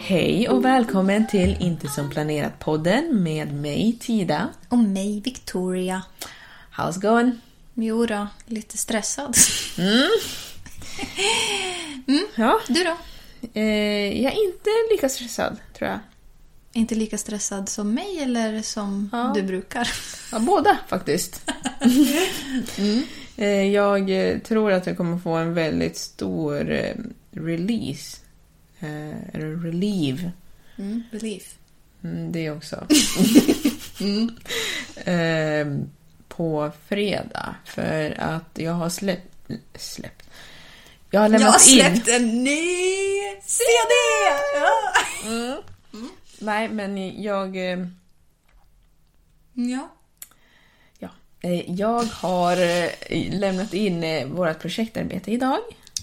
Hej och välkommen till Inte som planerat-podden med mig Tida. Och mig, Victoria. How's going? Jo då, lite stressad. Ja, Du då? eh, jag är inte lika stressad tror jag. Inte lika stressad som mig eller som du brukar? Ja, båda faktiskt. mm. eh, jag eh, tror att jag kommer få en väldigt stor eh, release. Eh, eller relieve. Mm, belief. Mm, det också. Mm. eh, på fredag. För att jag har släppt... släppt. Jag har lämnat Jag har in... släppt en ny CD! Ja. Nej, men jag... eh, ja. Ja. Eh, Jag har eh, lämnat in eh, vårt projektarbete idag.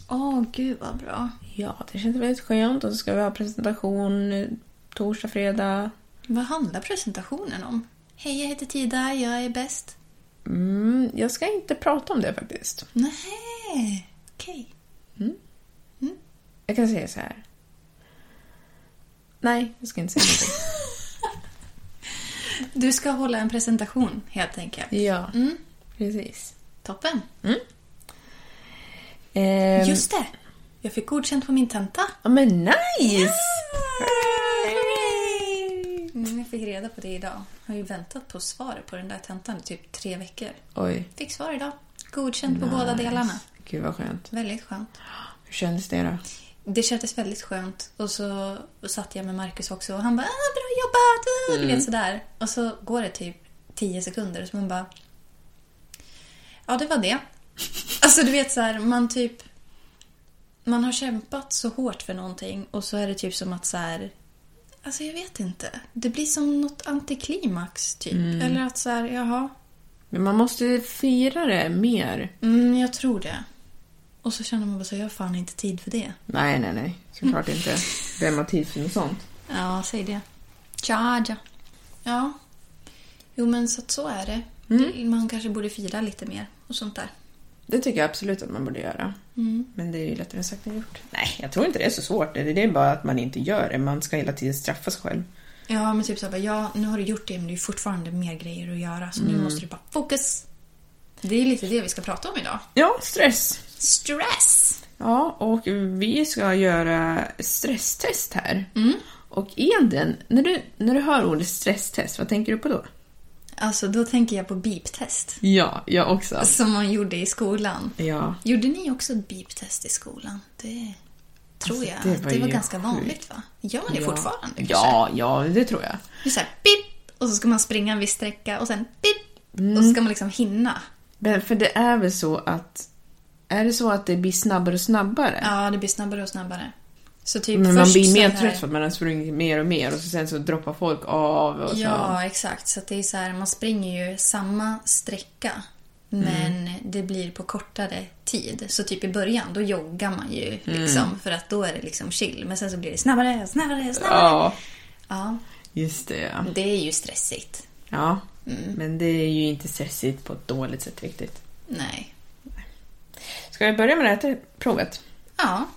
Åh, gud vad bra. Ja, det känns väldigt skönt. Och så ska vi ha presentation eh, torsdag, fredag. Vad handlar presentationen om? Hej, jag heter Tida, jag är bäst. Mm, jag ska inte prata om det faktiskt. Nej, okej. Jag kan säga så här. Nej, jag ska inte säga någonting. Du ska hålla en presentation helt enkelt. Mm. Ja, precis. Toppen. Ehm, Just det! Jag fick godkänt på min tenta. Ja, men nice! Mm, jag fick reda på det idag. Jag har ju väntat på svaret på den där tentan i typ tre veckor. Oj. Fick svar idag. Godkänt på båda delarna. Gud vad skönt. Väldigt skönt. Hur kändes det då? Det kändes väldigt skönt. Och så satt jag med Marcus också och han bara ah, “Bra jobbat!” ah, Du vet sådär. Och så går det typ tio sekunder och så man bara... Ja, det var det. Alltså du vet såhär, man typ... Man har kämpat så hårt för någonting och så är det typ som att så här. Alltså jag vet inte. Det blir som något antiklimax typ. Eller att så här, jaha. Men man måste fira det mer. Mm, jag tror det. Och så känner man bara så jag har fan inte tid för det. Nej, nej, nej. Såklart inte. Vem har tid för något sånt? Ja, säg det. Tja, ja. Ja. Jo, men så, att så är det. det. Man kanske borde fira lite mer och sånt där. Det tycker jag absolut att man borde göra. Men det är ju lättare sagt än gjort. Nej, jag tror inte det är så svårt. Det det är bara att man inte gör det. Man ska hela tiden straffa sig själv. Ja, men typ så här, bara, ja, nu har du gjort det, men det är ju fortfarande mer grejer att göra. Så nu måste du bara fokus. Mm. Det är lite det vi ska prata om idag. Ja, stress. Stress! Ja, och vi ska göra stresstest här. Och egentligen, när du, när du hör ordet stresstest, vad tänker du på då? Alltså, då tänker jag på beep-test. Ja, jag också. Som man gjorde i skolan. Ja. Gjorde ni också beep-test i skolan? Det tror Alltså, jag. det Det var var, det var ju ganska sjukt. vanligt, va? Gör man det fortfarande? kanske? Ja, ja, det tror jag. Det är så här pip och så ska man springa en viss sträcka och sen pip och Mm. så ska man liksom hinna. Men för det är väl så att... Är det så att det blir snabbare och snabbare? Ja, det blir snabbare och snabbare. Så typ Men man först blir mer så här- trött för att man har sprungit mer och mer och så sen så droppar folk av och så. Ja, exakt. Så att det är så här, man springer ju samma sträcka. Men Mm. det blir på kortare tid. Så typ i början, då joggar man ju Mm. liksom. För att då är det liksom chill. Men sen så blir det snabbare, snabbare, snabbare. Ja, Ja, just det. Ja, det är ju stressigt. ja. Mm. men det är ju inte stressigt på ett dåligt sätt riktigt. Nej. Ska vi börja med det här provet? Ja,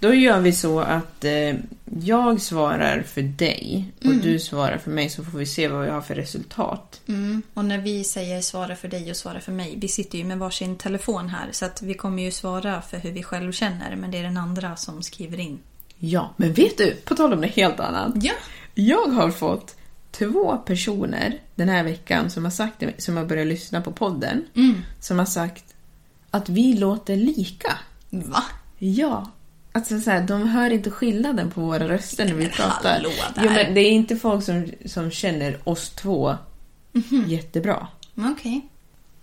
Då gör vi så att eh, jag svarar för dig och du svarar för mig så får vi se vad vi har för resultat. Mm. Och när vi säger svara för dig och svara för mig, vi sitter ju med varsin telefon här så att vi kommer ju svara för hur vi själv känner men det är den andra som skriver in. Ja, men vet du, på tal om något helt annat. Ja. Jag har fått två personer den här veckan som har sagt till mig- som har börjat lyssna på podden, Mm. som har sagt att vi låter lika. Va? Ja. Alltså så här, de hör inte skillnaden på våra röster när vi Men pratar. hallå där. Jo, men det är inte folk som, som känner oss två Mhm. jättebra. Mm, Okej.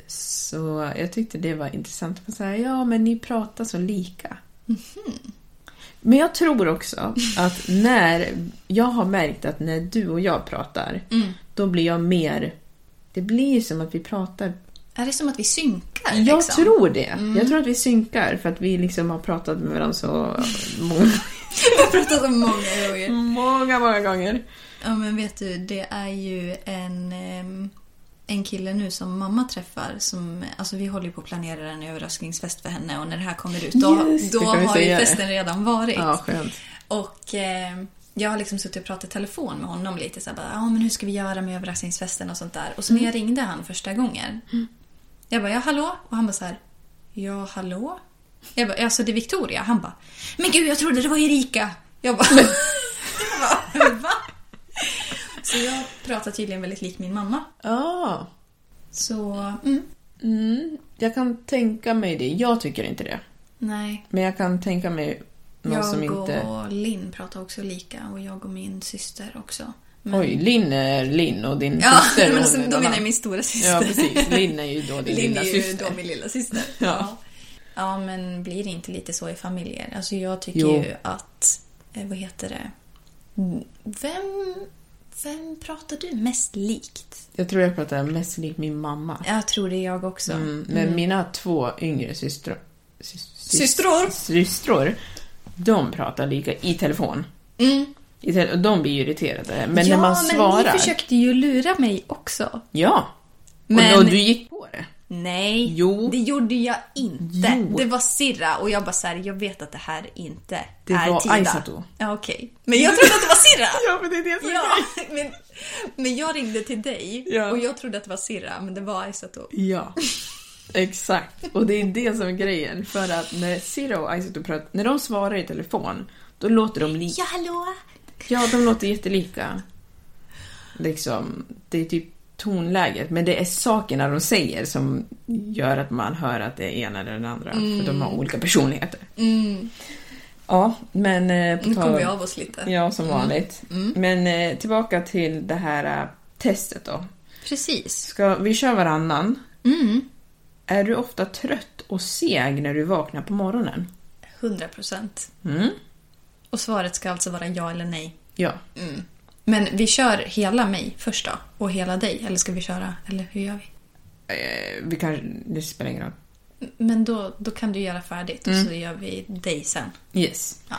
Så jag tyckte det var intressant. att säga, ja, men ni pratar så lika. Mhm. Men jag tror också att när... Jag har märkt att när du och jag pratar, Mm. då blir jag mer... Det blir som att vi pratar... Är det som att vi synkar? Jag liksom? tror det. Jag tror att vi synkar för att vi liksom har pratat med varandra så många, Jag har pratat om många gånger. många, många gånger. Ja men vet du, det är ju en, ehm, en kille nu som mamma träffar. Som, alltså vi håller ju på att planera en överraskningsfest för henne och när det här kommer ut då, Just det, då kan vi har ju säga det. festen redan varit. Ja, skönt. Och eh, jag har liksom suttit och pratat i telefon med honom lite så här, bara, ja men hur ska vi göra med överraskningsfesten och sånt där. Mm. Och så när jag ringde han första gången. Jag bara, ja hallå? Och han bara så här, ja hallå? Jag bara, alltså det är Victoria. Han bara, men gud jag trodde det var Erika. Jag bara, jag bara va? Så jag pratar tydligen väldigt lik min mamma. Ja, Så, mm, jag kan tänka mig det. Jag tycker inte det. nej. Men jag kan tänka mig någon Jag som inte... och Linn pratar också lika och jag och min syster också. Men, Oj, Linn är Linn och din Ja, syster men hon alltså, är då någon menar annan. jag min stora syster. Ja, precis. Linn är ju då din Linn lilla är ju syster. då min lilla syster. Ja. ja. Ja, men blir det inte lite så i familjer? Alltså jag tycker Jo. ju att, eh, vad heter det, Mm, vem, vem pratar du mest likt? Jag tror jag pratar mest lik min mamma. Jag tror det är jag också. Mm, Men mina två yngre systrar... Systror? Systror. De pratar lika i telefon. Mm. I te- och de blir ju irriterade. Men ja, när man men svarar... ni försökte ju lura mig också. Ja. Men- Och, och du gick på det. Nej, Jo. det gjorde jag inte. Jo. Det var Sirra och jag bara så här, jag vet att det här inte Det är var Tida. Aisato. Ja, okej. Men jag trodde att det var Sirra! Ja, men det är det som Ja, men, men jag ringde till dig Ja. och jag trodde att det var Sirra, men det var Aisato. Ja, exakt. Och det är det som är grejen. För att när Sira och Isato pratar, när de svarar i telefon, då låter de lika. Ja, hallå! Ja, de låter jättelika. Liksom, det är typ tonläget. Men det är sakerna de säger som gör att man hör att det är ena eller den andra. För de har Mm. olika personligheter. Ja, men... eh, på Nu tal- kommer vi av oss Mm. lite. Ja, som vanligt. Men eh, tillbaka till det här eh, testet då. Precis. Ska vi köra varannan? Mm. Är du ofta trött och seg när du vaknar på morgonen? 100 procent. Mm. Och svaret ska alltså vara ja eller nej. Ja. Men vi kör hela mig först då, och hela dig. Eller ska vi köra, eller hur gör vi? Eh, vi kan... Det spelar ingen roll. Men då, då kan du göra färdigt Mm. och så gör vi dig sen. Yes. Ja.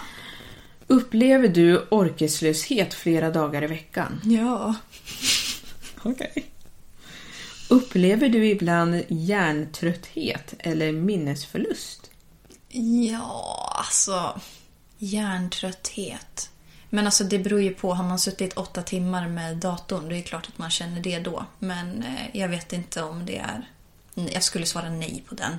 Upplever du orkeslöshet flera dagar i veckan? Ja. Okej. Upplever du ibland hjärntrötthet eller minnesförlust? Ja, alltså... Hjärntrötthet. Men alltså det beror ju på. Har man suttit åtta timmar med datorn, det är klart att man känner det då. Men eh, jag vet inte om det är... Jag skulle svara nej på den.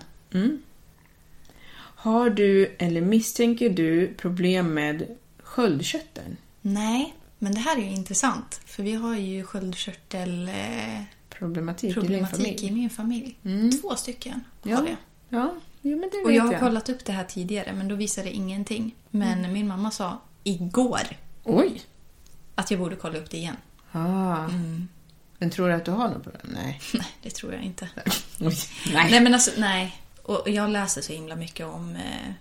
Har du eller misstänker du problem med sköldkörteln? Nej, men det här är ju intressant. För vi har ju sköldkörtelproblematik Problematik, i din familj? Mm. i min familj. Två stycken har Ja. jag. ja. Jo, men det Och vet jag har kollat upp det här tidigare, men då visade det ingenting. Men Mm. min mamma sa igår Oj! att jag borde kolla upp det igen. Ah. Mm. Men tror du att du har något problem? Nej. Nej, det tror jag inte. Oj. Nej men alltså, nej. Och jag läser så himla mycket om eh,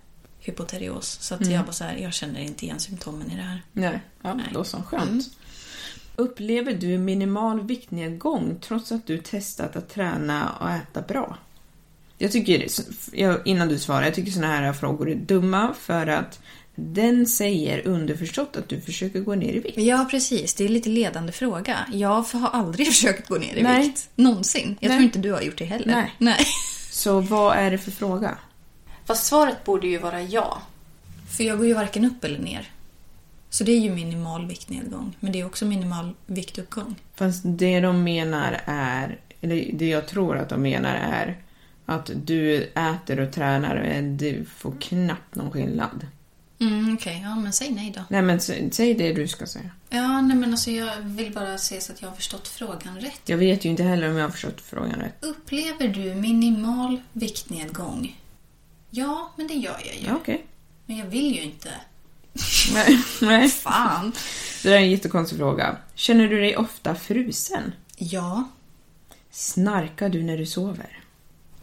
hypoterios. Så att jag bara så här, jag känner inte igen symptomen i det här. Nej, ja, Nej. då så. Skönt. Upplever du minimal viktnedgång trots att du testat att träna och äta bra? Jag tycker, jag- innan du svarar, jag tycker såna här frågor är dumma för att den säger underförstått att du försöker gå ner i vikt. Ja, precis. Det är lite ledande fråga. Jag har aldrig försökt gå ner i Nej. vikt. Någonsin. Jag Nej. tror inte du har gjort det heller. Nej. Nej. Så vad är det för fråga? Fast svaret borde ju vara ja. För jag går ju varken upp eller ner. Så det är ju minimal viktnedgång. Men det är också minimal viktuppgång. Fast det de menar är, eller det jag tror att de menar är att du äter och tränar men du får knappt någon skillnad. Mm, Okej, ja men säg nej då. Nej men sä- säg det du ska säga. Ja, nej men alltså jag vill bara se så att jag har förstått frågan rätt. Jag vet ju inte heller om jag har förstått frågan rätt. Upplever du minimal viktnedgång? Ja, men det gör jag ju. Ja, okej. Men jag vill ju inte. Nej, nej. Fan! Det där är en jättekonstig fråga. Känner du dig ofta frusen? Ja, Snarkar du när du sover?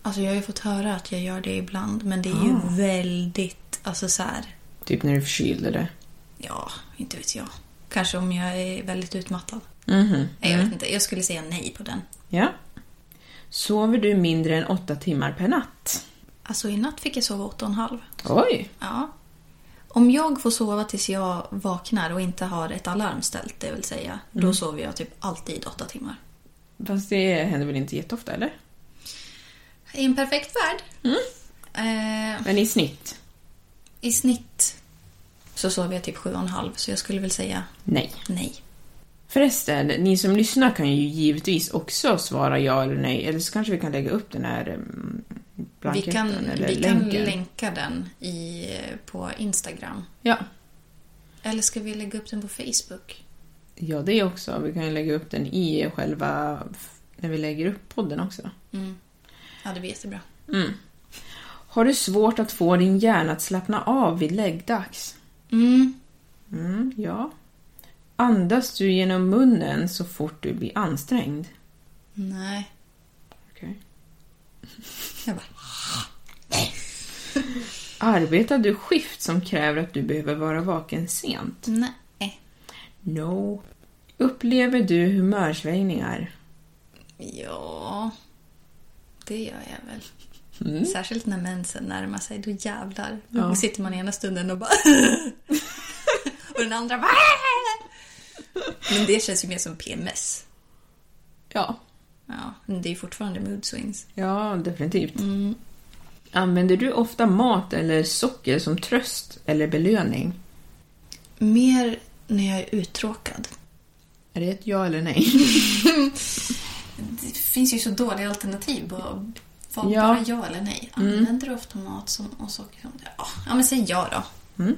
alltså jag har ju fått höra att jag gör det ibland, men det är Ah. ju väldigt, alltså så här, Typ när du är förkyld eller? ja, inte vet jag. Kanske om jag är väldigt utmattad. Mhm. Nej, jag Mm. vet inte. Jag skulle säga nej på den. Ja. Sover du mindre än åtta timmar per natt? Alltså i natt fick jag sova åtta och en halv. Oj! Ja. Om jag får sova tills jag vaknar och inte har ett alarm ställt, det vill säga, Mm. då sover jag typ alltid åtta timmar. Fast det händer väl inte jätteofta eller? I en perfekt värld. Mm. Eh, Men i snitt? I snitt så sover jag typ sju och en halv, så jag skulle väl säga Nej. nej. Förresten, ni som lyssnar kan ju givetvis också svara ja eller nej. Eller så kanske vi kan lägga upp den här mm, Vi blanketten kan, eller vi kan länken. länka den i, eh, på Instagram. Ja. Eller ska vi lägga upp den på Facebook? ja, det också. Vi kan ju lägga upp den i själva... När vi lägger upp podden också. Ja, det blir jättebra. Har du svårt att få din hjärna att slappna av vid läggdags? Mm. Mm, ja. Andas du genom munnen så fort du blir ansträngd? Nej. Okej. Jag bara, Arbetar du skift som kräver att du behöver vara vaken sent? nej. No. Upplever du humörsvängningar? Ja, det gör jag väl. Särskilt när mensen närmar sig, då jävlar. Då sitter man ena stunden och bara... och den andra bara... Men det känns ju mer som PMS. Ja. Ja, men det är ju fortfarande mood swings. Ja, definitivt. Använder du ofta mat eller socker som tröst eller belöning? Mer när jag är uttråkad. Är det ett ja eller nej? Det finns ju så dåliga alternativ. Bara, vad- Ja. Mm. bara ja eller nej. Använder du ofta mat som, och socker som det? Ja, ja men säg ja då. Mm.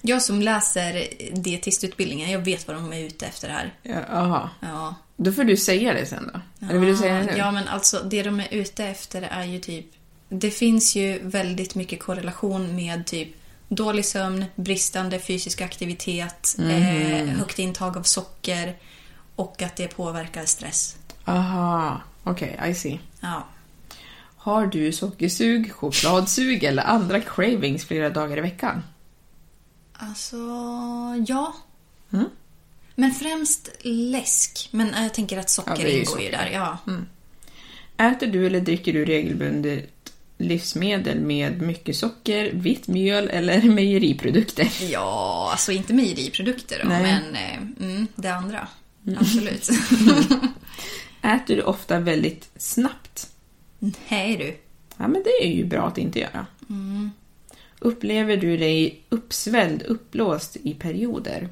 Jag som läser dietistutbildningen, jag vet vad de är ute efter här. Ja, Jaha. Ja. Då får du säga det sen då. Eller vill du säga det nu? Ja, men alltså det de är ute efter är ju typ... Det finns ju väldigt mycket korrelation med typ dålig sömn, bristande fysisk aktivitet, Mhm. eh, högt intag av socker och att det påverkar stress. Aha, okej, I see. Ja. Har du sockersug, chokladsug eller andra cravings flera dagar i veckan? Alltså, ja. Mm. Men främst läsk. Men eh, jag tänker att socker Ja, det är ju ingår ju socker. Mm. där. Ja. Äter du eller dricker du regelbundet livsmedel med mycket socker, vitt mjöl eller mejeriprodukter? ja, alltså inte mejeriprodukter då, Nej. Mm. men eh, mm, det andra. Absolut. Äter du ofta väldigt snabbt? Hej du. Ja, men det är ju bra att inte göra. Mm. Upplever du dig uppsvälld, uppblåst i perioder?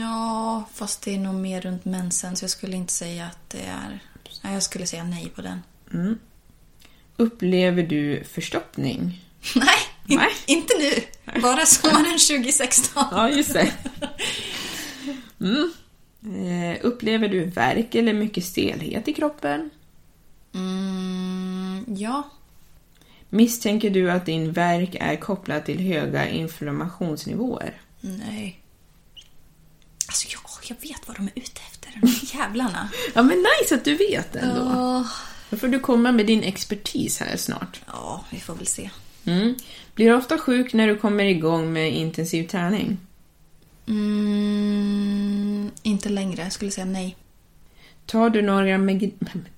Ja, fast det är nog mer runt mensen så jag skulle inte säga att det är... Nej, jag skulle säga nej på den. Upplever du förstoppning? Nej, in- Nej. inte nu. Bara sommaren 2016. Ja, just det. Mm. Eh, upplever du värk eller mycket stelhet i kroppen? Mm, ja. Misstänker du att din värk är kopplad till höga inflammationsnivåer? Nej. Alltså, ja, jag vet vad de är ute efter, de här jävlarna. Ja, men nice att du vet ändå. Ja. Då får du komma med din expertis här snart. Ja, vi får väl se. Mm. Blir du ofta sjuk när du kommer igång med intensiv träning? Mm, inte längre. Jag skulle säga nej. Tar du några, med...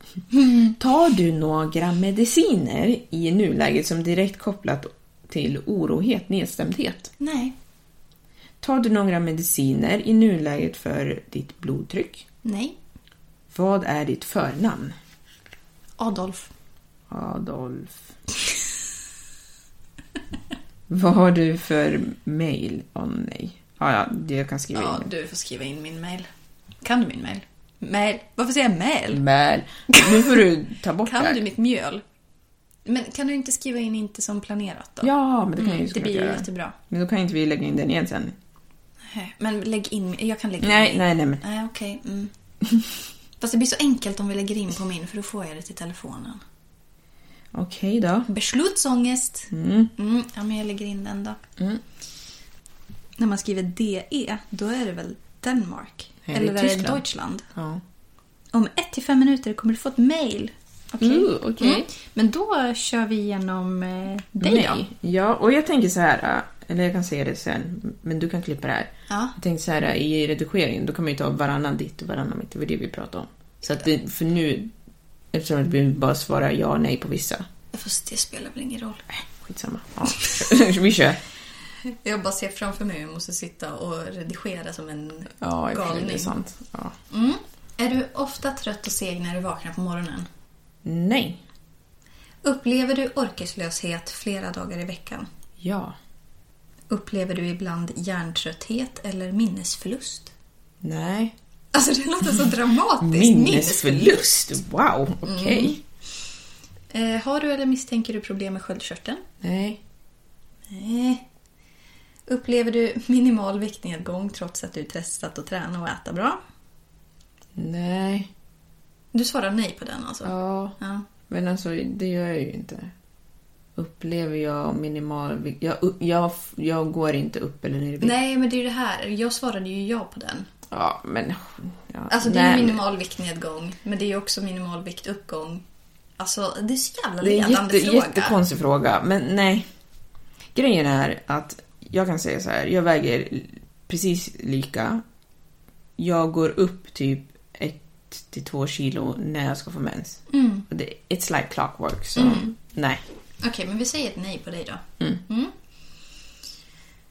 Tar du några mediciner i nuläget som direkt kopplat till orohet, nedstämdhet? Nej. Tar du några mediciner i nuläget för ditt blodtryck? Nej. Vad är ditt förnamn? Adolf. Adolf. Vad har du för mail? Åh nej. Ja, ja, det jag kan skriva Ja, in. du får skriva in min mail. Kan du min mail? Mail? Varför säger jag mail? Mail. Nu får du ta bort det Kan här. du mitt mjöl? Men kan du inte skriva in inte som planerat då? Ja, men det kan jag ju Mm, det såklart blir ju göra. jättebra. Men då kan inte vi lägga in den igen sen. Nej, Men lägg in... Jag kan lägga in Nej, min. nej, nej. Men. Nej, okej. Mm. Fast det blir så enkelt om vi lägger in på min för då får jag det till telefonen. Okej då. Beslutsångest. Mm. Ja, men jag lägger in den då. Mm. När man skriver DE, då är det väl Danmark? Nej, det är Eller är det Tyskland. Deutschland? Ja. Om ett till fem minuter kommer du få ett mail. Okej. Mm. Ooh, okej. Men då kör vi igenom eh, dig då. Nej. Ja, och jag tänker så här. äh, Eller jag kan säga det sen. Men du kan klippa det här. Ja. Jag tänkte så här äh, i redigeringen. Då kan man ju ta varannan ditt och varannan mitt. Det var det vi pratade om. Så att det, för nu. Eftersom att vi bara svarar ja och nej på vissa. Fast det spelar väl ingen roll. Äh, Skitsamma. Ja. vi kör. Jag bara ser framför mig hur jag måste sitta och redigera som en Ja, i och för sig, galning. det är sant. Ja. Mm. Är du ofta trött och seg när du vaknar på morgonen? Nej. Upplever du orkeslöshet flera dagar i veckan? Ja. Upplever du ibland hjärntrötthet eller minnesförlust? Nej. Alltså det låter så dramatiskt. Minnesförlust. Wow, okej. Mm. Eh, har du eller misstänker du problem med sköldkörteln? Nej. Nej. Upplever du minimal viktnedgång trots att du testat att träna och äta bra? Nej. Du svarar nej på den alltså? Ja. Ja. Men alltså, det gör jag ju inte. Upplever jag minimal... Jag, jag, jag går inte upp eller ner i vikt. Nej, men det är ju det här. Jag svarade ju ja på den. Ja, men... Ja, Alltså det är nej. ju minimal viktnedgång, men det är ju också minimal viktuppgång. Alltså det är så jävla Det är en ledande jätte, fråga. jättekonstig fråga, men nej. Grejen är att jag kan säga så här, jag väger precis lika. Jag går upp typ 1-2 kilo när jag ska få mens. Mm. Och det- It's like clockwork, så nej. Okej, men vi säger ett nej på dig då. Mm.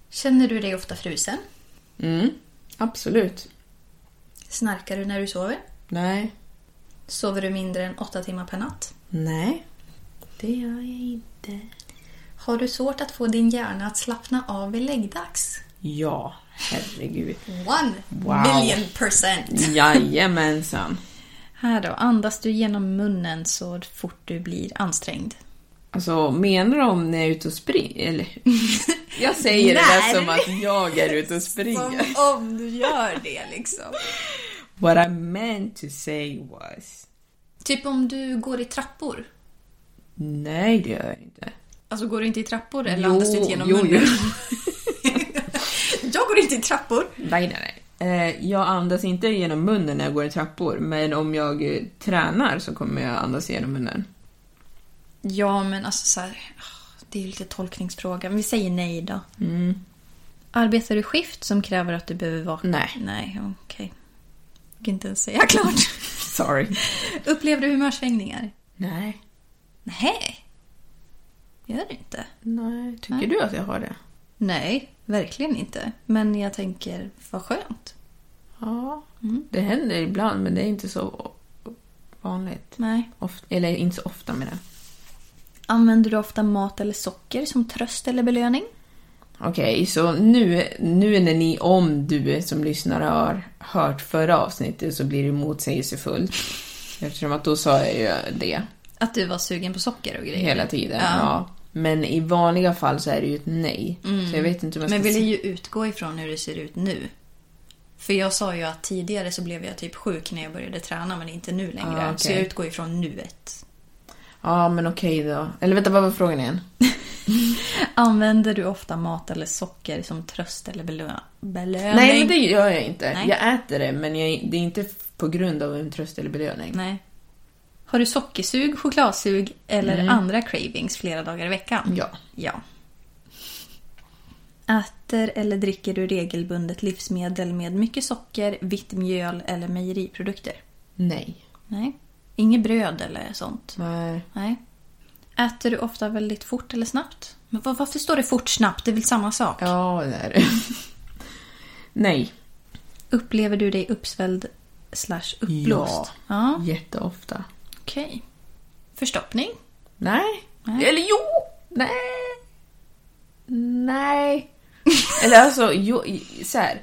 Känner du dig ofta frusen? Mm, absolut. Snarkar du när du sover? Nej. Sover du mindre än åtta timmar per natt? Nej. Det gör jag inte. Har du svårt att få din hjärna att slappna av vid läggdags? Ja, herregud. One Wow. million percent! Jajamensan. Här då, andas du genom munnen så fort du blir ansträngd? Alltså menar de när jag är ute och springer? Eller? Jag säger det där Nej. som att jag är ute och springer. om du gör det liksom. What I meant to say was... Typ om du går i trappor. Nej, det gör jag inte. Alltså går du inte i trappor eller Jo, andas du inte genom jo, munnen? jo. jag går inte i trappor. Nej, nej, nej. Eh, Jag andas inte genom munnen när jag går i trappor, men om jag eh, tränar så kommer jag andas genom munnen. Ja, men alltså så här, Det är ju lite tolkningsfråga. Men vi säger nej då. Mm. Arbetar du skift som kräver att du behöver vakna? Nej. Nej, okej. Jag kan inte ens säga klart. Sorry. Upplever du humörsvängningar? Nej. Nej. Gör du inte? Nej. Tycker du att jag har det? Nej, verkligen inte. Men jag tänker, vad skönt. Ja. Mm. Det händer ibland, men det är inte så vanligt. Nej. Oft, eller inte så ofta med det. Använder du ofta mat eller socker som tröst eller belöning? Okej, så nu, nu när ni, om du som lyssnare har hört förra avsnittet så blir det motsägelsefullt. Eftersom att då sa jag ju det Att du var sugen på socker och grejer? hela tiden. Ja. Ja. Men i vanliga fall så är det ju ett nej. Så jag vet inte om jag ska Mm. Men vill säga- ju utgå ifrån hur det ser ut nu. För jag sa ju att tidigare så blev jag typ sjuk när jag började träna men inte nu längre. Ah, okej. Så jag utgår ifrån nuet. Ja, men okej då. Eller vänta, vad var frågan igen? Använder du ofta mat eller socker som tröst eller belö- belöning? nej, men det gör jag inte. Nej. Jag äter det, men jag, det är inte på grund av en tröst eller belöning. Nej. Har du sockersug, chokladsug eller andra cravings flera dagar i veckan? Mm. Ja. ja. Äter eller dricker du regelbundet livsmedel med mycket socker, vitt mjöl eller mejeriprodukter? Nej. Nej. Inget bröd eller sånt? Nej. Nej. Äter du ofta väldigt fort eller snabbt? Men va- varför står det fort snabbt? Det är väl samma sak? Ja, det är det. Nej. Upplever du dig uppsvälld slash uppblåst? Ja. Jätteofta. Okej. Förstoppning? Nej. Nej. Eller jo! Nej. Nej. Eller alltså, jo, i- så här.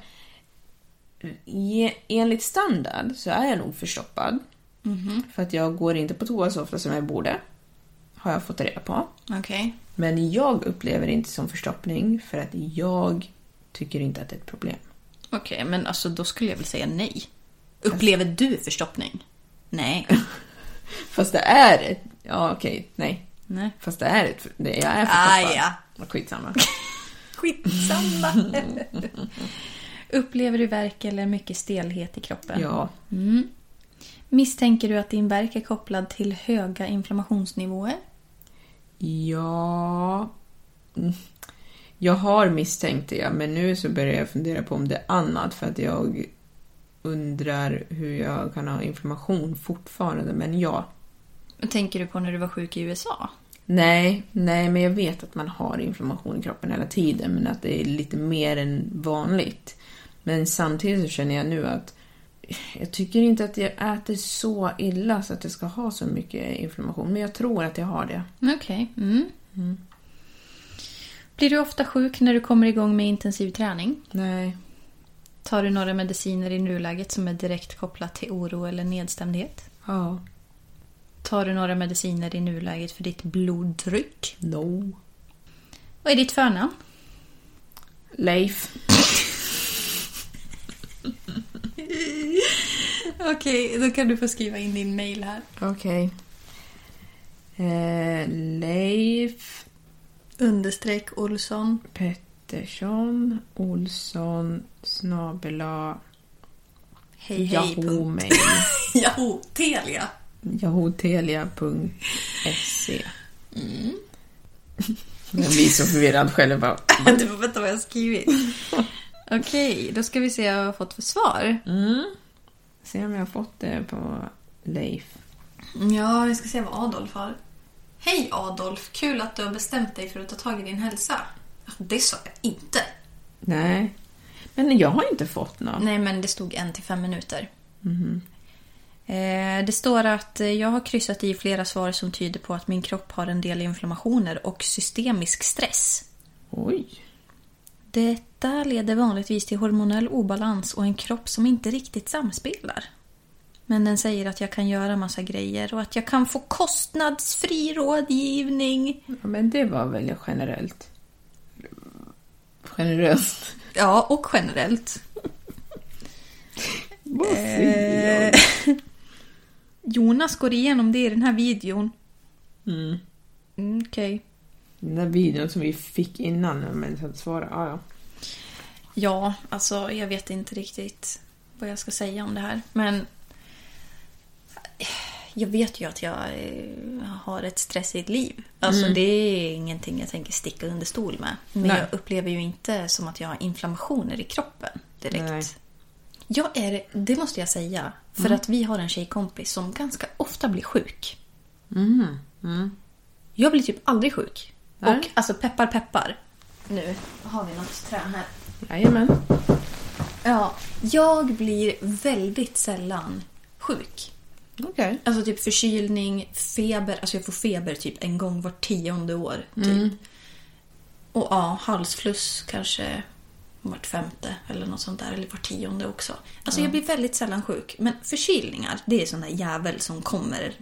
Ge- Enligt standard så är jag nog förstoppad. Mhm. För att jag går inte på toa så ofta som jag borde. Har jag fått reda på. Okej. Men jag upplever det inte som förstoppning för att jag tycker inte att det är ett problem. Okej, men alltså då skulle jag väl säga nej. Upplever du förstoppning? Nej. Fast det är ett... Ja, okej. nej. Nej. Fast det är ett... Det, jag är Ah, förstoppad. ja. Vad Skitsamma. Skitsamma! Upplever du värk eller mycket stelhet i kroppen? Ja. Misstänker du att din värk är kopplad till höga inflammationsnivåer? Ja... Mm. Jag har misstänkt det, men nu så börjar jag fundera på om det är annat för att jag undrar hur jag kan ha inflammation fortfarande, men ja. Tänker du på när du var sjuk i USA? Nej, nej, men jag vet att man har inflammation i kroppen hela tiden, men att det är lite mer än vanligt. Men samtidigt så känner jag nu att jag tycker inte att jag äter så illa så att jag ska ha så mycket inflammation, men jag tror att jag har det. Okej. Mm. Blir du ofta sjuk när du kommer igång med intensiv träning? Nej. Tar du några mediciner i nuläget som är direkt kopplat till oro eller nedstämdhet? Ja. Tar du några mediciner i nuläget för ditt blodtryck? No. Vad är ditt förnamn? Leif. Okej, då kan du få skriva in din mail här. Okej. Eh, Leif Understreck Olsson. Pettersson Olsson snabela Hej hej. punkt. Yahoo-mail. Yahoo! Telia. Yahootelia.se Mm. Jag blir så förvirrad själv. bara. Du får veta vad jag har skrivit. Mm. Okej, då ska vi se vad jag har fått för svar. Se om jag har fått det på Leif. Ja, vi ska se vad Adolf har. Hej Adolf! Kul att du har bestämt dig för att ta tag i din hälsa. Alltså, Det sa jag inte. Nej. Men jag har inte fått något. Nej, men det stod en till fem minuter. Mhm. Eh, det står att eh, jag har kryssat i flera svar som tyder på att min kropp har en del inflammationer och systemisk stress. Oj. Detta leder vanligtvis till hormonell obalans och en kropp som inte riktigt samspelar. Men den säger att jag kan göra massa grejer och att jag kan få kostnadsfri rådgivning. Ja, men det var väl generellt. Generöst. Ja, och generellt. Vad säger jag? Jonas går igenom det i den här videon. Mm, Okej. Den där videon som vi fick innan men jag inte svara. Ah, ja. Ja, alltså jag vet inte riktigt vad jag ska säga om det här. Men jag vet ju att jag eh, har ett stressigt liv. Alltså det är ingenting jag tänker sticka under stol med. Men Mm. Nej. jag upplever ju inte som att jag har inflammationer i kroppen direkt. Nej. Mm. Jag är, det måste jag säga. För att vi har en tjejkompis som ganska ofta blir sjuk. Jag blir typ aldrig sjuk. Mm, Nej. Och alltså peppar peppar. Nu har vi något trä här. Jajamän. Ja, jag blir väldigt sällan sjuk. Okej. Alltså typ förkylning, feber. Alltså jag får feber typ en gång vart tionde år. Typ. Mm. Och ja, halsfluss kanske vart femte eller något sånt där. Eller vart tionde också. Alltså jag blir väldigt sällan sjuk. Men förkylningar, det är sån där jävel som kommer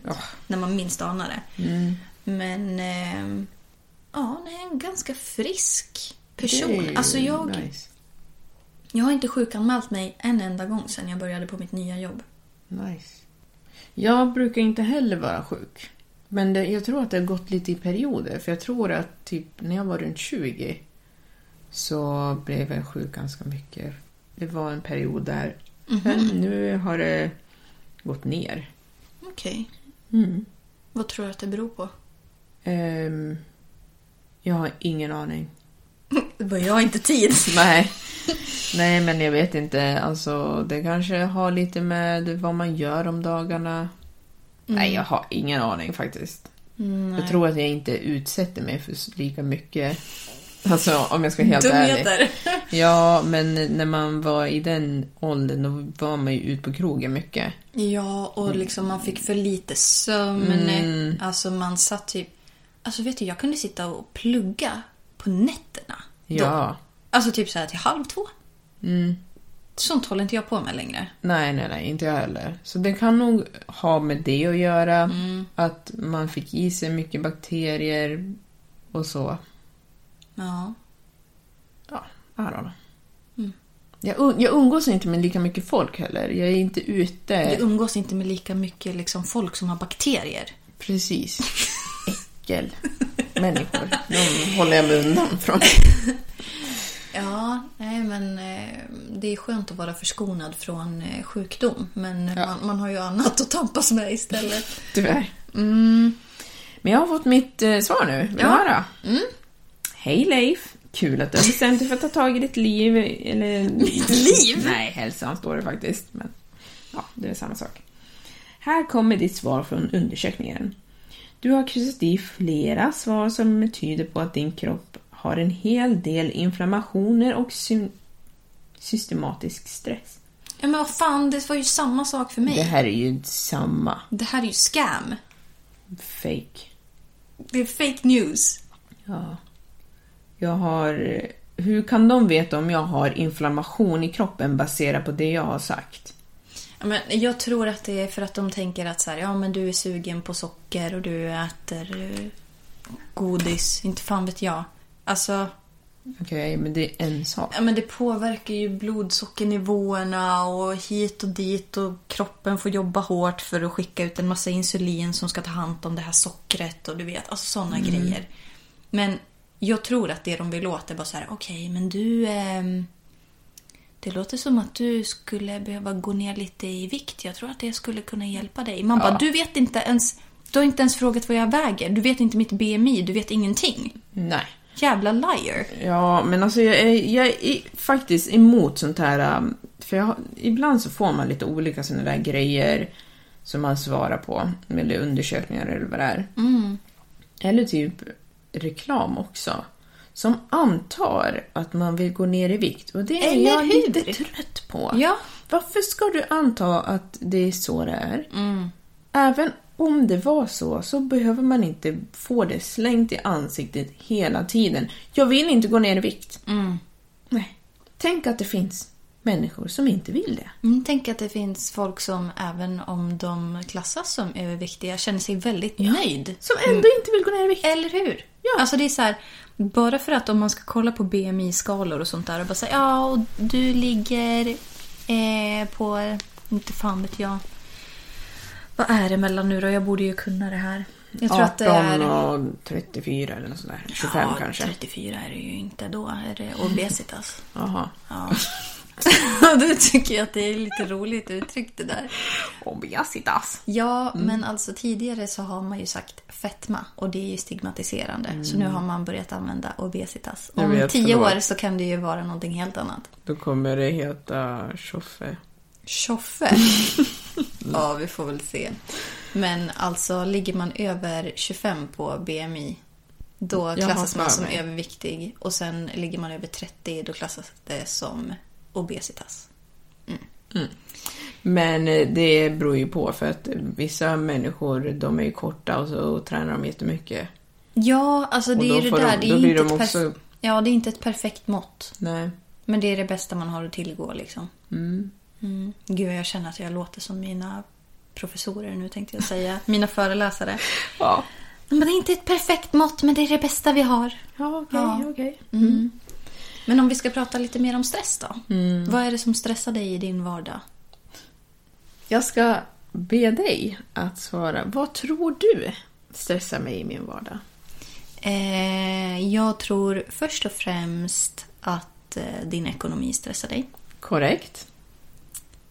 när man minst anar det. Mm. Men ehm, ja, nej, en ganska frisk person. Det är Alltså jag... Nice. Jag har inte sjukanmält mig en enda gång sedan jag började på mitt nya jobb. nice. Jag brukar inte heller vara sjuk. Men det, jag tror att det har gått lite i perioder. För jag tror att typ när jag var runt 20 så blev jag sjuk ganska mycket. Det var en period där. Men nu har det gått ner. Okej. Mm. Vad tror du att det beror på? Ehm, jag har ingen aning. Det var jag inte tid. Nej. Nej, men jag vet inte. Alltså, det kanske har lite med vad man gör om dagarna. Mm. Nej, jag har ingen aning faktiskt. Mm, Jag tror att jag inte utsätter mig för lika mycket. Alltså, om jag ska vara helt ärlig. Dumheter. Ja, men när man var i den åldern då var man ju ute på krogen mycket. Ja, och liksom man fick för lite sömn. Mm. Alltså man satt typ... Alltså vet du, jag kunde sitta och plugga på nätterna. då. Ja. Mm. Alltså typ så här till halv två. Sånt håller inte jag på med längre. Nej, nej, nej, inte jag heller. Så det kan nog ha med det att göra. Mm. Att man fick i sig mycket bakterier och så. Ja. Ja, I don't know. Jag, um- jag umgås inte med lika mycket folk heller. Jag är inte Du um- ute. umgås inte med lika mycket liksom, folk som har bakterier. Precis. Äckel. Människor. De håller jag mig undan från. Ja, nej men eh, det är skönt att vara förskonad från eh, sjukdom. Men man, man har ju annat att tampas med istället. Tyvärr. Mm. Men jag har fått mitt eh, svar nu. Vill du Ja. höra? Hej Leif! Kul att du har bestämt dig för att ta tag i ditt liv. Eller... Mitt liv? Nej, hälsan står det faktiskt. Men ja, det är samma sak. Här kommer ditt svar från undersökningen. Du har kryssat i flera svar som tyder på att din kropp har en hel del inflammationer och sym- systematisk stress. Ja, men vad fan, det var ju samma sak för mig. Det här är ju samma. Det här är ju scam. Fake. Det är fake news. Ja. Jag har... Hur kan de veta om jag har inflammation i kroppen baserat på det jag har sagt? Ja, men jag tror att det är för att de tänker att så här, ja, men du är sugen på socker och du äter eh, godis. Inte fan vet jag. Alltså, Okej, men det är en sak. ja, men det påverkar ju blodsockernivåerna och hit och dit och kroppen får jobba hårt för att skicka ut en massa insulin som ska ta hand om det här sockret och du vet, alltså sådana grejer. Men jag tror att det de vill åt är bara så här, okej men du... ehm, Det låter som att du skulle behöva gå ner lite i vikt. Jag tror att det skulle kunna hjälpa dig. Man bara, du vet inte ens... Du har inte ens frågat vad jag väger. Du vet inte mitt BMI. Du vet ingenting. Nej. Jävla liar. Ja, men alltså jag är, jag är faktiskt emot sånt här... um, För jag, har- ibland så får man lite olika såna där grejer som man svarar på. Eller undersökningar eller vad det är. Eller typ reklam också. Som antar att man vill gå ner i vikt. Och det är Eller jag lite hur? trött på. Ja. Varför ska du anta att det är så det är? Mm. Även om det var så, så behöver man inte få det slängt i ansiktet hela tiden. Jag vill inte gå ner i vikt. Mm. Nej. Tänk att det finns människor som inte vill det. Mm, tänk att det finns folk som även om de klassas som överviktiga känner sig väldigt nöjd. Mm. Som ändå inte vill gå ner i vikt. Eller hur? Ja. Alltså det är så här, bara för att om man ska kolla på BMI-skalor och sånt där och bara säga ja, och du ligger eh, på, inte fan vet jag. Vad är det mellan nu då? Jag borde ju kunna det här. Jag tror att det är... 18 och 34 eller något sånt där. 25 ja, kanske. 34 är det ju inte. Då är det obesitas. Jaha. Ja. du tycker jag att det är lite roligt uttryckt det där. Obesitas. Ja, Mm. men alltså tidigare så har man ju sagt fetma och det är ju stigmatiserande. Så nu har man börjat använda obesitas. Mm. Jag Om vet, tio förlåt. år så kan det ju vara någonting helt annat. Då kommer det heta tjoffe. Tjoffe? ja, vi får väl se. Men alltså, ligger man över 25 på BMI då klassas för man som mig. överviktig och sen ligger man över 30 då klassas det som obesitas. Men eh, det beror ju på för att vissa människor de är ju korta och så tränar de jättemycket. Ja, alltså det då är ju det får de- där. det är då blir inte de ett perf- också- Ja, det är inte ett perfekt mått. Nej. Men det är det bästa man har att tillgå liksom. Mm. Gud, jag känner att jag låter som mina professorer nu tänkte jag säga. Mina föreläsare. Ja. Men det är inte ett perfekt mått, men det är det bästa vi har. Ja, okej, Ja. okej. Men om vi ska prata lite mer om stress då. Vad är det som stressar dig i din vardag? Jag ska be dig att svara. Vad tror du stressar mig i min vardag? Eh, jag tror först och främst att eh, din ekonomi stressar dig. Korrekt.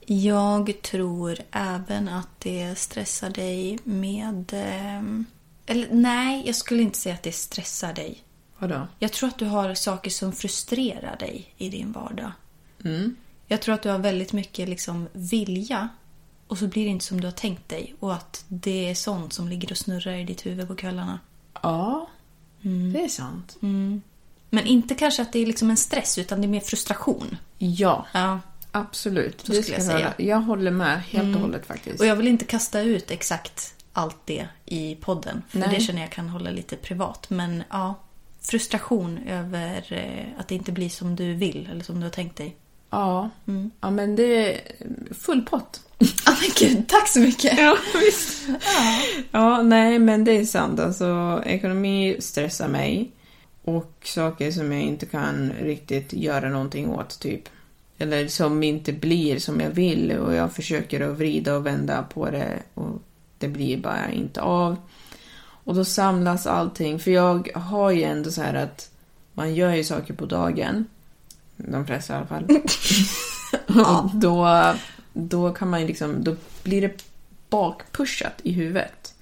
Jag tror även att det stressar dig med... ehm, Eller nej, jag skulle inte säga att det stressar dig. Vadå? Jag tror att du har saker som frustrerar dig i din vardag. Jag tror att du har väldigt mycket liksom vilja och så blir det inte som du har tänkt dig och att det är sånt som ligger och snurrar i ditt huvud på kvällarna. Ja, det är sant. Men inte kanske att det är liksom en stress utan det är mer frustration. Ja, Ja. absolut. Så Det skulle jag ska säga. Jag håller med helt och hållet faktiskt. Och jag vill inte kasta ut exakt allt det i podden. För Nej. det känner jag kan hålla lite privat. Men ja, frustration över eh, att det inte blir som du vill eller som du har tänkt dig. Ja. ja, men det är full pott. Ja men gud, tack så mycket! Ja, visst. Ja. nej, men det är sant. Alltså, ekonomi stressar mig. Och saker som jag inte kan riktigt göra någonting åt, typ. Eller som inte blir som jag vill och jag försöker att vrida och vända på det och det blir bara inte av. Och då samlas allting, för jag har ju ändå så här att man gör ju saker på dagen. De flesta i alla fall. Och då, då kan man ju liksom, då blir det bakpushat i huvudet.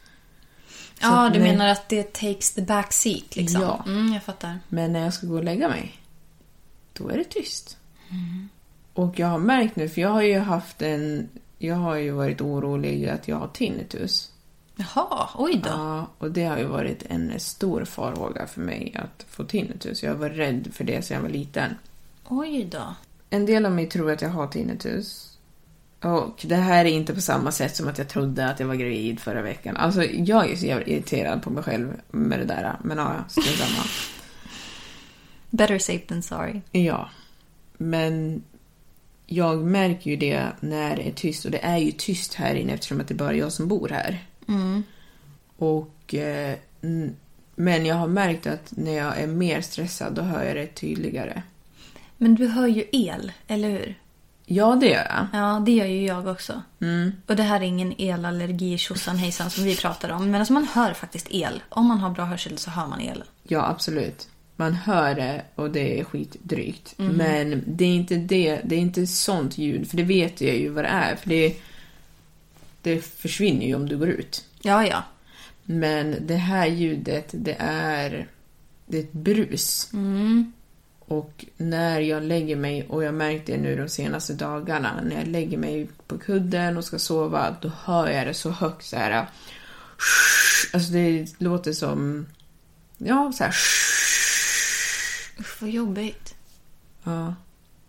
ja, att du nej. menar att det takes the back seat liksom? Ja. Mm, jag fattar. Men när jag ska gå och lägga mig, då är det tyst. Och jag har märkt nu, för jag har ju haft en, jag har ju varit orolig att jag har tinnitus. Jaha, oj då. Ja, och det har ju varit en stor farhåga för mig att få tinnitus. Jag var rädd för det sedan jag var liten. Oj då. En del av mig tror att jag har tinnitus. Och det här är inte på samma sätt som att jag trodde att jag var gravid förra veckan. Alltså jag är så jävla irriterad på mig själv med det där. Men ja, ja, strunt samma. Better safe than sorry. Ja. Men jag märker ju det när det är tyst. Och det är ju tyst här inne eftersom att det är bara jag som bor här. Mm. Och... Eh, n- men jag har märkt att när jag är mer stressad då hör jag det tydligare. Men du hör ju el, eller hur? Ja, det gör jag. Ja, det gör ju jag också. Mm. Och det här är ingen elallergi tjosan hejsan som vi pratar om. Men alltså man hör faktiskt el. Om man har bra hörsel så hör man el. Ja, absolut. Man hör det och det är skitdrygt. Men det är inte det, det är inte sånt ljud, för det vet jag ju vad det är. För det, det försvinner ju om du går ut. Ja, ja. Men det här ljudet, det är, det är ett brus. Mm. Och när jag lägger mig, och jag märkte det nu de senaste dagarna, när jag lägger mig på kudden och ska sova, då hör jag det så högt så här. Alltså det låter som, ja så här. Usch vad jobbigt. Ja.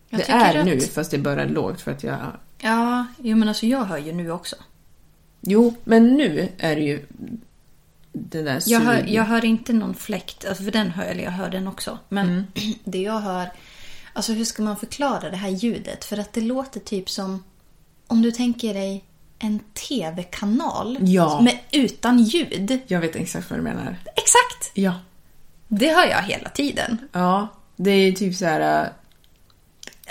Jag det tycker är att- nu, fast det är bara lågt för att jag... Ja, jo men alltså jag hör ju nu också. Jo, men nu är det ju den där Jag hör, sug- jag hör inte någon fläkt, alltså för den hör, eller jag hör den också. Men Mm. det jag hör, alltså hur ska man förklara det här ljudet? För att det låter typ som, om du tänker dig en tv-kanal Ja. med, utan ljud. jag vet exakt vad du menar. Exakt! Ja. Det hör jag hela tiden. Ja, det är typ så här... äh,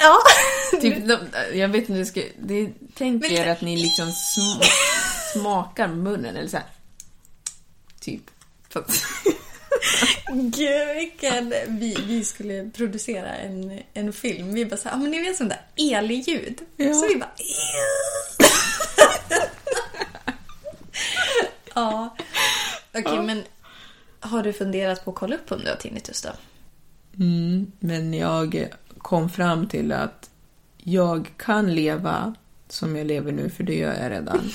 Ja. Typ, de, äh, jag vet inte hur jag ska... Det, tänk Men- er att ni liksom sm- smakar munnen eller så här. Typ. Fast- Gud, vilken... Vi, vi skulle producera en, en film. Vi bara såhär, ah, men ni vet sånt där elljud. Ja. Så vi bara... ja. Okej, men har du funderat på att kolla upp om du har tinnitus då? Mm, men jag kom fram till att jag kan leva som jag lever nu, för det gör jag redan.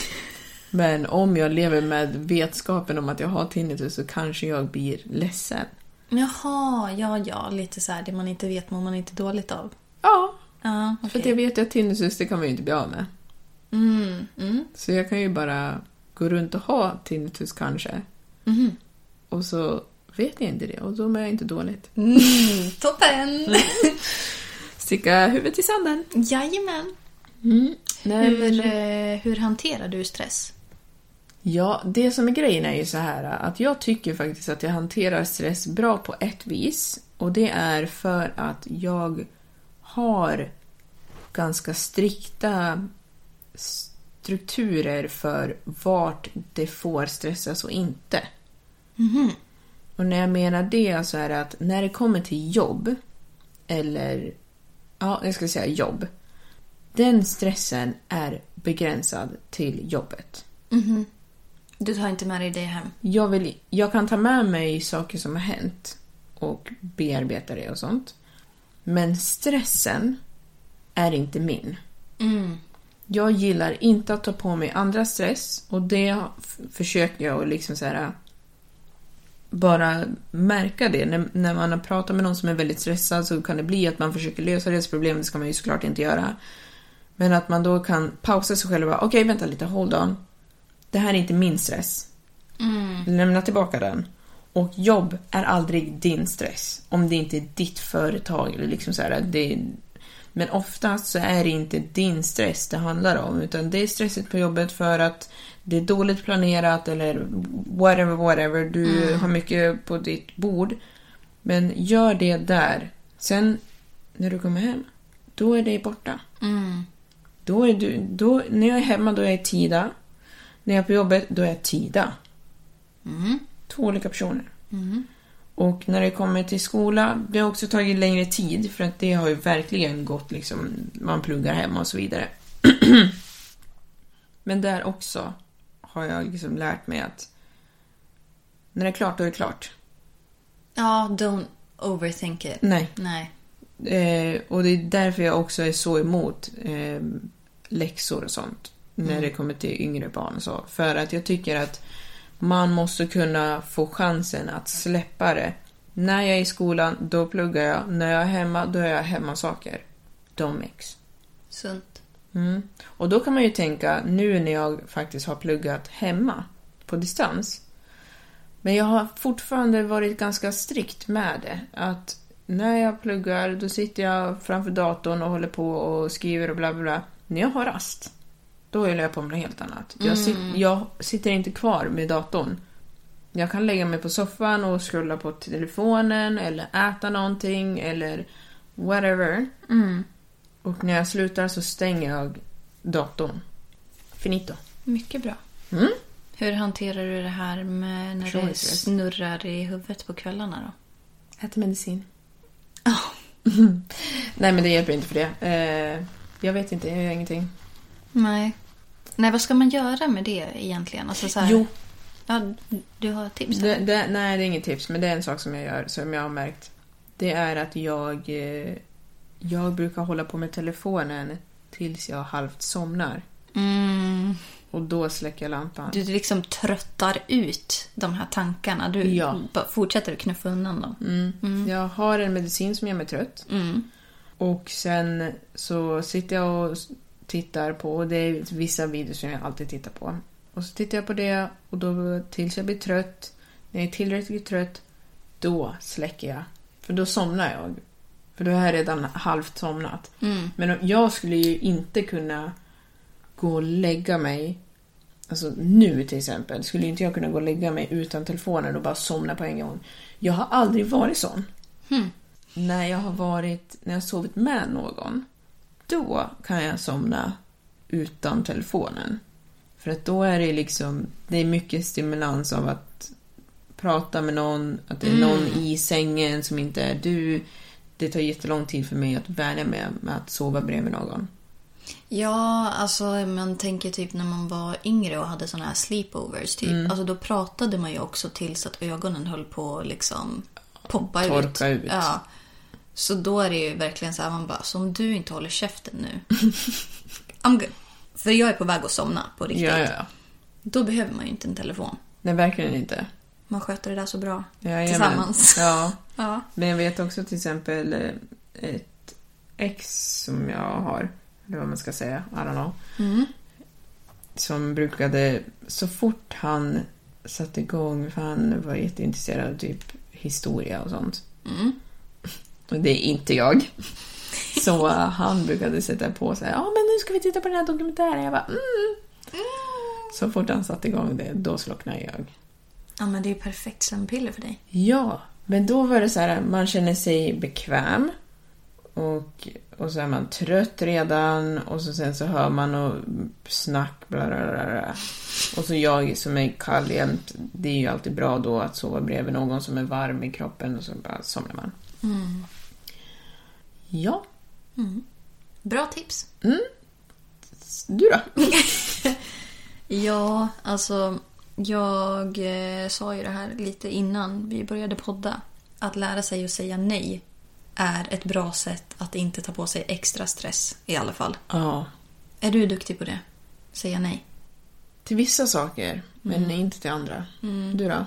Men om jag lever med vetskapen om att jag har tinnitus så kanske jag blir ledsen. Jaha, ja, ja. Lite så här, det man inte vet mår man inte dåligt av. Ja, Ja, för okej. att jag vet ju att tinnitus det kan man ju inte bli av med. Mm, mm. Så jag kan ju bara gå runt och ha tinnitus kanske. Mm-hmm. Och så vet jag inte det och då mår jag inte dåligt. Mm, toppen! Sticka huvudet i sanden. Jajamän. Mm. Nej, men- Hur, eh, hur hanterar du stress? Ja, det som är grejen är ju så här att jag tycker faktiskt att jag hanterar stress bra på ett vis. Och det är för att jag har ganska strikta strukturer för vart det får stressas och inte. Och när jag menar det så är det att när det kommer till jobb, eller ja, jag ska säga jobb, Den stressen är begränsad till jobbet. Du tar inte med dig det hem. Jag, vill, jag kan ta med mig saker som har hänt och bearbeta det och sånt. Men stressen är inte min. Jag gillar inte att ta på mig andra stress och det f- försöker jag att liksom så här, bara märka det. När, när man har pratat med någon som är väldigt stressad så kan det bli att man försöker lösa deras problem, det ska man ju såklart inte göra. Men att man då kan pausa sig själv och bara okej vänta lite, hold on. Det här är inte min stress. Lämna tillbaka den. Och jobb är aldrig din stress. Om det inte är ditt företag eller liksom så här. Det, men oftast så är det inte din stress det handlar om. Utan det är stresset på jobbet för att det är dåligt planerat eller whatever, whatever. Du har mycket på ditt bord. Men gör det där. Sen när du kommer hem, då är det borta. Då är du, då, när jag är hemma då är jag Tida. När jag är på jobbet då är jag Tida. Två olika personer. Och när det kommer till skola, det har också tagit längre tid för att det har ju verkligen gått liksom, man pluggar hemma och så vidare. Men där också har jag liksom lärt mig att när det är klart, då är det klart. Ja, don't overthink it. Nej. Nej. Eh, och det är därför jag också är så emot eh, läxor och sånt. När det kommer till yngre barn och så. För att jag tycker att man måste kunna få chansen att släppa det. När jag är i skolan, då pluggar jag. När jag är hemma, då är jag hemma saker. De mix. Sunt. Mm. Och då kan man ju tänka, nu när jag faktiskt har pluggat hemma på distans. Men jag har fortfarande varit ganska strikt med det. Att när jag pluggar, då sitter jag framför datorn och håller på och skriver och bla bla bla. När jag har rast, då håller jag på med något helt annat. Jag, sit, jag sitter inte kvar med datorn. Jag kan lägga mig på soffan och scrolla på telefonen eller äta någonting eller whatever. Och när jag slutar så stänger jag datorn. Finito. Mycket bra. Mm. Hur hanterar du det här med när det Personlig stress. snurrar i huvudet på kvällarna då? Äter medicin. Ah. Nej men det hjälper inte för det. Eh, jag vet inte, jag gör ingenting. Nej. Nej, vad ska man göra med det egentligen? Alltså så här, Jo. Ja, du har tips? Det, det, nej det är inget tips men det är en sak som jag gör som jag har märkt. Det är att jag, eh, jag brukar hålla på med telefonen tills jag halvt somnar. Mm. Och då släcker jag lampan. Du liksom tröttar ut de här tankarna. Du Ja. bara fortsätter att knuffa undan dem. Jag har en medicin som gör mig trött. Och sen så sitter jag och s- tittar på, och det är vissa videos som jag alltid tittar på. Och så tittar jag på det och då tills jag blir trött, när jag är tillräckligt trött, då släcker jag. För då somnar jag. För då har jag redan halvt somnat. Men jag skulle ju inte kunna gå och lägga mig Alltså nu till exempel skulle inte jag kunna gå och lägga mig utan telefonen och bara somna på en gång. Jag har aldrig varit sån. När jag har varit, när jag har sovit med någon, då kan jag somna utan telefonen. För att då är det liksom, det är mycket stimulans av att prata med någon, att det är någon i sängen som inte är du. Det tar jättelång tid för mig att vänja mig med att sova bredvid någon. Ja, alltså man tänker typ när man var yngre och hade såna här sleepovers. Typ. Mm. Alltså då pratade man ju också tills att ögonen höll på att liksom poppa Torka ut. Ja. Så då är det ju verkligen så här, man bara, så om du inte håller käften nu. I'm good. För jag är på väg att somna på riktigt. Ja, ja, ja. Då behöver man ju inte en telefon. Nej, verkligen inte. Man sköter det där så bra Jajamän. tillsammans. Ja. Ja. Men jag vet också till exempel eh, ett ex som jag har, eller vad man ska säga, I don't know. Som brukade, så fort han satte igång, för han var jätteintresserad av typ historia och sånt. Och det är inte jag. Så eh, han brukade sätta på så här, ja men nu ska vi titta på den här dokumentären. Jag bara, mm. Så fort han satte igång det, då slocknade jag. ja, men det är ju perfekt sömnpiller för dig. Ja, men då var det så här, man känner sig bekväm och, och så är man trött redan och så sen så hör man och snack bla bla bla. bla. Och så jag som är kall jämt, det är ju alltid bra då att sova bredvid någon som är varm i kroppen och så bara somnar man. Ja, Bra tips. mm, Du då? Ja, alltså jag eh, sa ju det här lite innan vi började podda. Att lära sig att säga nej är ett bra sätt att inte ta på sig extra stress i alla fall. Ja. Är du duktig på det? Säga nej? Till vissa saker, men inte till andra. Du då?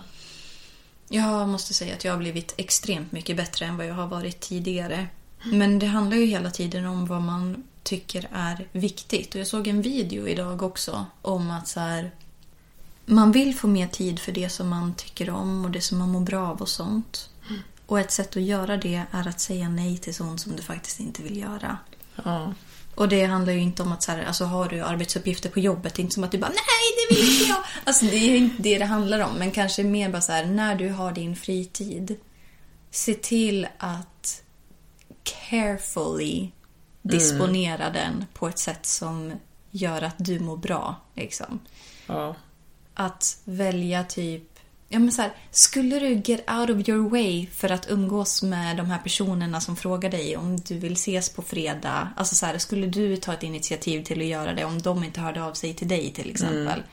Jag måste säga att jag har blivit extremt mycket bättre än vad jag har varit tidigare. Men det handlar ju hela tiden om vad man tycker är viktigt. Och jag såg en video idag också om att så här, man vill få mer tid för det som man tycker om och det som man mår bra av och sånt. Och ett sätt att göra det är att säga nej till sånt som du faktiskt inte vill göra. Ja. Och det handlar ju inte om att så här, alltså har du arbetsuppgifter på jobbet, det är inte som att du bara nej det vill inte jag. Alltså det är ju inte det det handlar om. Men kanske mer bara så här, när du har din fritid, se till att carefully disponera den på ett sätt som gör att du mår bra. Liksom ja. att välja typ Ja, men så här, skulle du get out of your way för att umgås med de här personerna som frågar dig om du vill ses på fredag? Alltså så här, skulle du ta ett initiativ till att göra det om de inte hörde av sig till dig Mm. till exempel?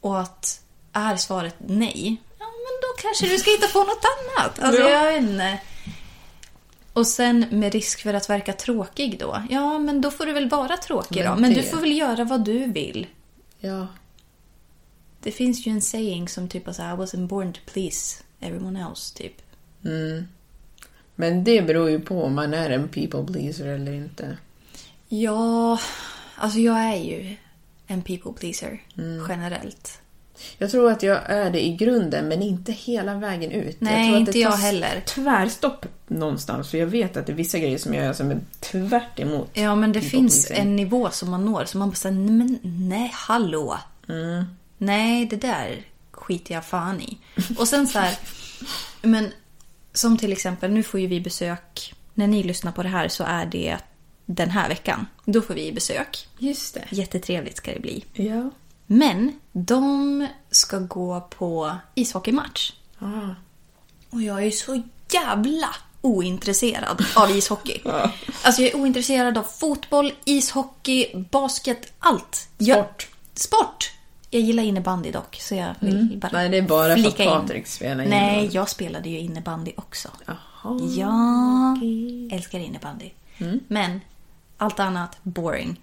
Och att är svaret nej, ja men då kanske du ska hitta på något annat. Alltså Ja. jag vet inte. Och sen med risk för att verka tråkig då. Ja, men då får du väl vara tråkig Men då. Men du det- får väl göra vad du vill. Ja. Det finns ju en saying som typ av så här, I wasn't born to please everyone else, typ. Men det beror ju på om man är en people pleaser eller inte. Ja, alltså jag är ju en people pleaser generellt. Jag tror att jag är det i grunden, men inte hela vägen ut. Nej, jag tror att inte det jag tas heller. tvärstopp någonstans, för jag vet att det är vissa grejer som jag gör som är tvärt emot. Ja, men det people finns pleasing. en nivå som man når som man bara säger, nej, men nej, hallå. Mm. Nej, det där skiter jag fan i. Och sen så här, men som till exempel, nu får ju vi besök, när ni lyssnar på det här så är det den här veckan. Då får vi besök. Just det. Jättetrevligt ska det bli. Ja. Men de ska gå på ishockeymatch. Ah. Och jag är ju så jävla ointresserad av ishockey. Alltså jag är ointresserad av fotboll, ishockey, basket, allt. Jag, Sport. Sport! Jag gillar innebandy dock, så jag vill bara Mm. Nej, det är bara för att flika in. Patrik spelar Nej, innebandy. jag spelade ju innebandy också. Jaha. Ja, älskar innebandy. Men allt annat, boring.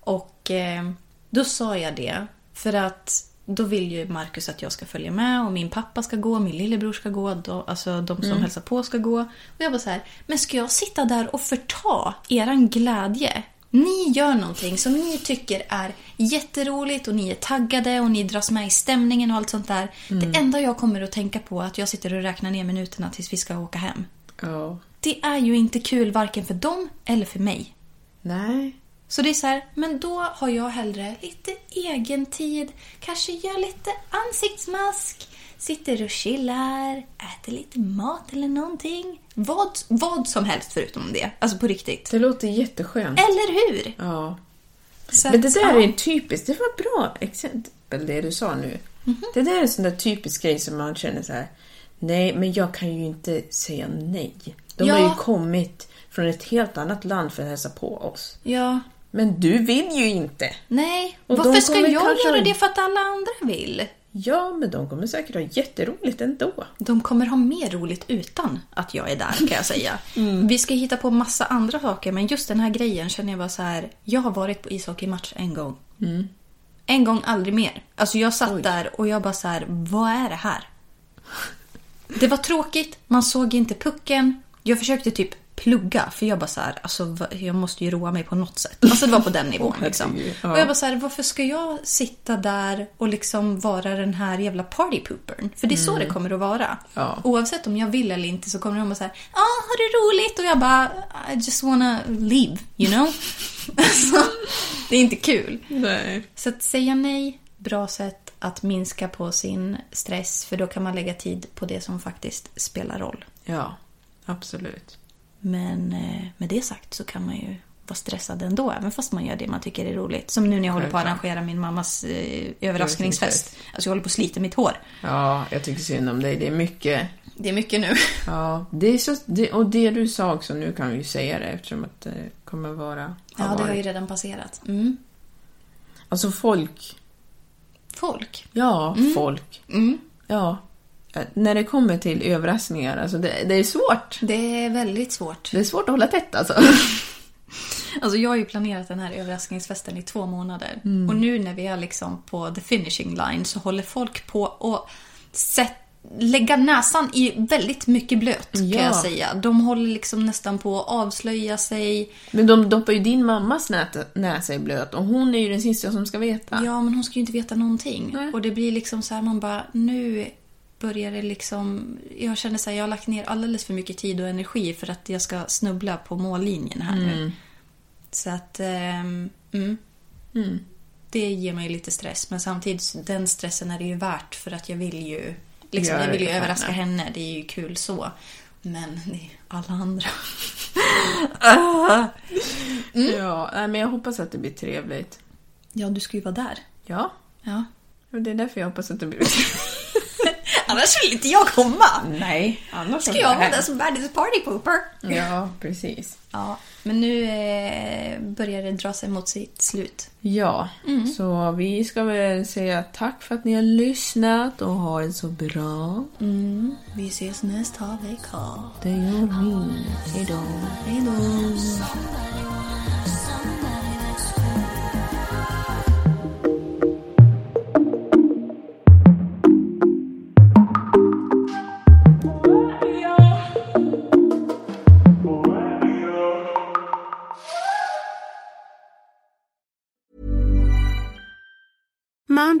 Och eh, då sa jag det för att då vill ju Marcus att jag ska följa med och min pappa ska gå, min lillebror ska gå, då, alltså de som hälsar på ska gå. Och jag bara så här, men ska jag sitta där och förta eran glädje? Ni gör någonting som ni tycker är jätteroligt och ni är taggade och ni dras med i stämningen och allt sånt där. Det enda jag kommer att tänka på är att jag sitter och räknar ner minuterna tills vi ska åka hem. Ja. Det är ju inte kul varken för dem eller för mig. Nej. Så det är så här, men då har jag hellre lite egen tid, kanske gör lite ansiktsmask, sitter och chillar, äter lite mat eller någonting. Vad, vad som helst förutom det, alltså på riktigt. Det låter jätteskönt. Eller hur? Ja. Så Men det att, där ja. är typiskt, det var bra exempel det du sa nu. Mhm. Det där är en sån där typisk grej som man känner så här. Nej, men jag kan ju inte säga nej. De Ja. har ju kommit från ett helt annat land för att hälsa på oss. Ja. Men du vill ju inte! Nej, Och de varför ska kommer jag kanske- göra det för att alla andra vill? Ja, men de kommer säkert ha jätteroligt ändå. De kommer ha mer roligt utan att jag är där kan jag säga. Vi ska hitta på massa andra saker men just den här grejen känner jag bara så här. Jag har varit på ishockeymatch en gång. En gång, aldrig mer. Alltså jag satt där och jag bara så här. vad är det här? Det var tråkigt, man såg inte pucken. Jag försökte typ plugga för jag bara så här, alltså va- jag måste ju roa mig på något sätt. Alltså det var på den nivån liksom. herregud. Ja. Och jag bara så här, varför ska jag sitta där och liksom vara den här jävla partypoopern? För det är så det kommer att vara. Mm. Ja. Oavsett om jag vill eller inte så kommer de bara så här, ja, har du roligt? Och jag bara, I just wanna leave, you know? alltså, det är inte kul. Nej. Så att säga nej, bra sätt att minska på sin stress för då kan man lägga tid på det som faktiskt spelar roll. Ja, absolut. Men eh, med det sagt så kan man ju vara stressad ändå, även fast man gör det man tycker är roligt. Som nu när jag håller på att Självklart. arrangera min mammas eh, Överraskningsfest. överraskningsfest. Alltså jag håller på att slita mitt hår. Ja, jag tycker synd om dig. Det är mycket. Det är mycket nu. Ja, det är så, det, och det du sa också, nu kan vi ju säga det eftersom att det kommer vara... Ja, det har varit. ju redan passerat. Mm. Alltså folk. Folk. Ja, folk. Ja. Eh, När det kommer till överraskningar, alltså det, det är svårt. Det är väldigt svårt. Det är svårt att hålla tätt alltså. Alltså jag har ju planerat den här överraskningsfesten i två månader. Och nu när vi är liksom på the finishing line så håller folk på och sätt, lägga näsan i väldigt mycket blöt kan Ja. jag säga. De håller liksom nästan på att avslöja sig. Men de doppar ju din mammas nät, näsa i blöt och hon är ju den sista som ska veta. Ja men hon ska ju inte veta någonting. Nej. Och det blir liksom så här man bara nu börjar det liksom. Jag känner så här jag har lagt ner alldeles för mycket tid och energi för att jag ska snubbla på mållinjen här Mm. nu. Så att ehm, mm. det ger mig lite stress. Men samtidigt, den stressen är det ju värt för att jag vill ju, liksom, Göra jag vill ju det för överraska henne. henne. Det är ju kul så. Men det är alla andra. Ja, Mm. nej, men jag hoppas att det blir trevligt. Ja, du ska ju vara där. Ja, Ja. och det är därför jag hoppas att det blir Annars vill inte jag komma. Nej, annars Ska åker jag vara hem. den som världens partypooper? Ja, precis. Ja, men nu eh, börjar det dra sig mot sitt slut. Ja, så vi ska väl säga tack för att ni har lyssnat och ha det så bra. Vi ses nästa vecka. Det gör vi. Hejdå. Hej då! Mom